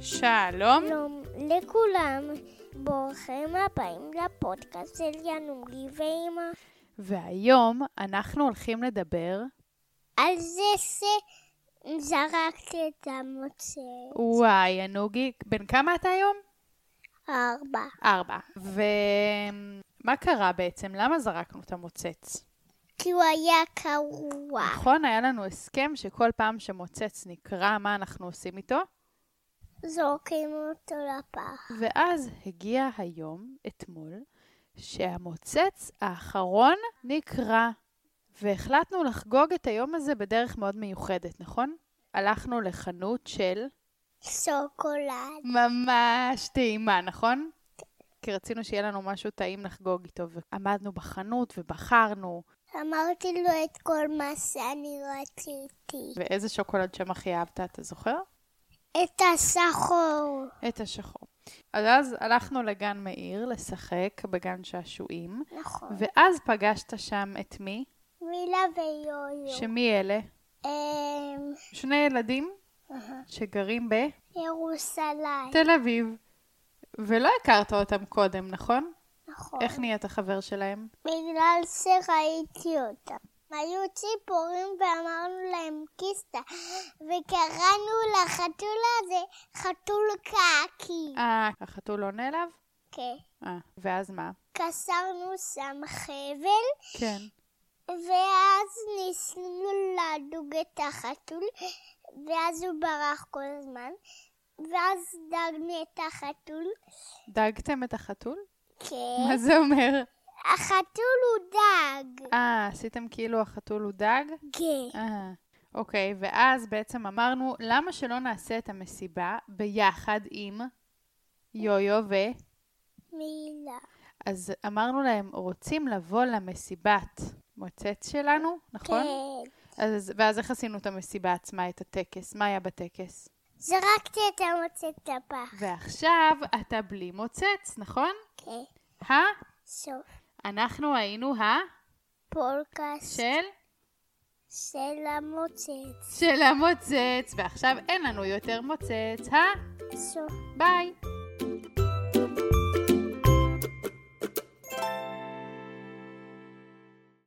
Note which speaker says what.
Speaker 1: שלום.
Speaker 2: שלום לכולם, ברוכים הבאים לפודקאסט של ינומי ואימא.
Speaker 1: והיום אנחנו הולכים לדבר,
Speaker 2: על זה שזרקת את המוצא.
Speaker 1: וואי, ינוגי, בן כמה אתה היום?
Speaker 2: ארבע.
Speaker 1: ארבע. ומה קרה בעצם? למה זרקנו את המוצץ?
Speaker 2: כי הוא היה קרוע.
Speaker 1: נכון, היה לנו הסכם שכל פעם שמוצץ נקרע, מה אנחנו עושים איתו?
Speaker 2: זורקים אותו לפח.
Speaker 1: ואז הגיע היום, אתמול, שהמוצץ האחרון נקרע. והחלטנו לחגוג את היום הזה בדרך מאוד מיוחדת, נכון? הלכנו לחנות של
Speaker 2: שוקולד.
Speaker 1: ממש טעימה, נכון? כי רצינו שיהיה לנו משהו טעים לחגוג איתו, ועמדנו בחנות ובחרנו,
Speaker 2: אמרתי לו את כל מה שאני רציתי.
Speaker 1: ואיזה שוקולד שם הכי אהבת, אתה זוכר?
Speaker 2: את הסחור.
Speaker 1: את השחור. אז אז הלכנו לגן מאיר לשחק בגן שעשועים,
Speaker 2: נכון.
Speaker 1: ואז פגשת שם את מי?
Speaker 2: מילה ויויו.
Speaker 1: שמי אלה?
Speaker 2: אמ,
Speaker 1: שני ילדים שגרים בתל
Speaker 2: ירוסלם.
Speaker 1: אביב, ולא הכרת אותם קודם, נכון?
Speaker 2: נכון.
Speaker 1: איך נהיית חבר שלהם?
Speaker 2: בגלל שראיתי אותם. היו ציפורים ואמרנו להם קיסטה, וקראנו לחתול הזה חתול קעקי.
Speaker 1: אה, החתול לא עונה אליו?
Speaker 2: כן.
Speaker 1: אה, ואז מה?
Speaker 2: קסרנו שם חבל,
Speaker 1: כן.
Speaker 2: ואז ניסינו להדוג את החתול, ואז הוא ברח כל הזמן, ואז דגנו את החתול.
Speaker 1: דאגתם את החתול?
Speaker 2: כן.
Speaker 1: מה זה אומר?
Speaker 2: החתול הוא דג.
Speaker 1: אה, עשיתם כאילו החתול הוא דג?
Speaker 2: כן.
Speaker 1: אה, אוקיי, ואז בעצם אמרנו, למה שלא נעשה את המסיבה ביחד עם יויו ו...
Speaker 2: מילה.
Speaker 1: אז אמרנו להם, רוצים לבוא למסיבת מוצץ שלנו, נכון?
Speaker 2: כן.
Speaker 1: אז, ואז איך עשינו את המסיבה עצמה, את הטקס? מה היה בטקס?
Speaker 2: זרקתי את המוצאת לפח.
Speaker 1: ועכשיו אתה בלי מוצץ, נכון?
Speaker 2: כן.
Speaker 1: ה?
Speaker 2: סוף
Speaker 1: אנחנו היינו ה?
Speaker 2: פולקאסט
Speaker 1: של?
Speaker 2: של המוצאת.
Speaker 1: של המוצץ, ועכשיו אין לנו יותר מוצץ, ה?
Speaker 2: סוף.
Speaker 1: ביי!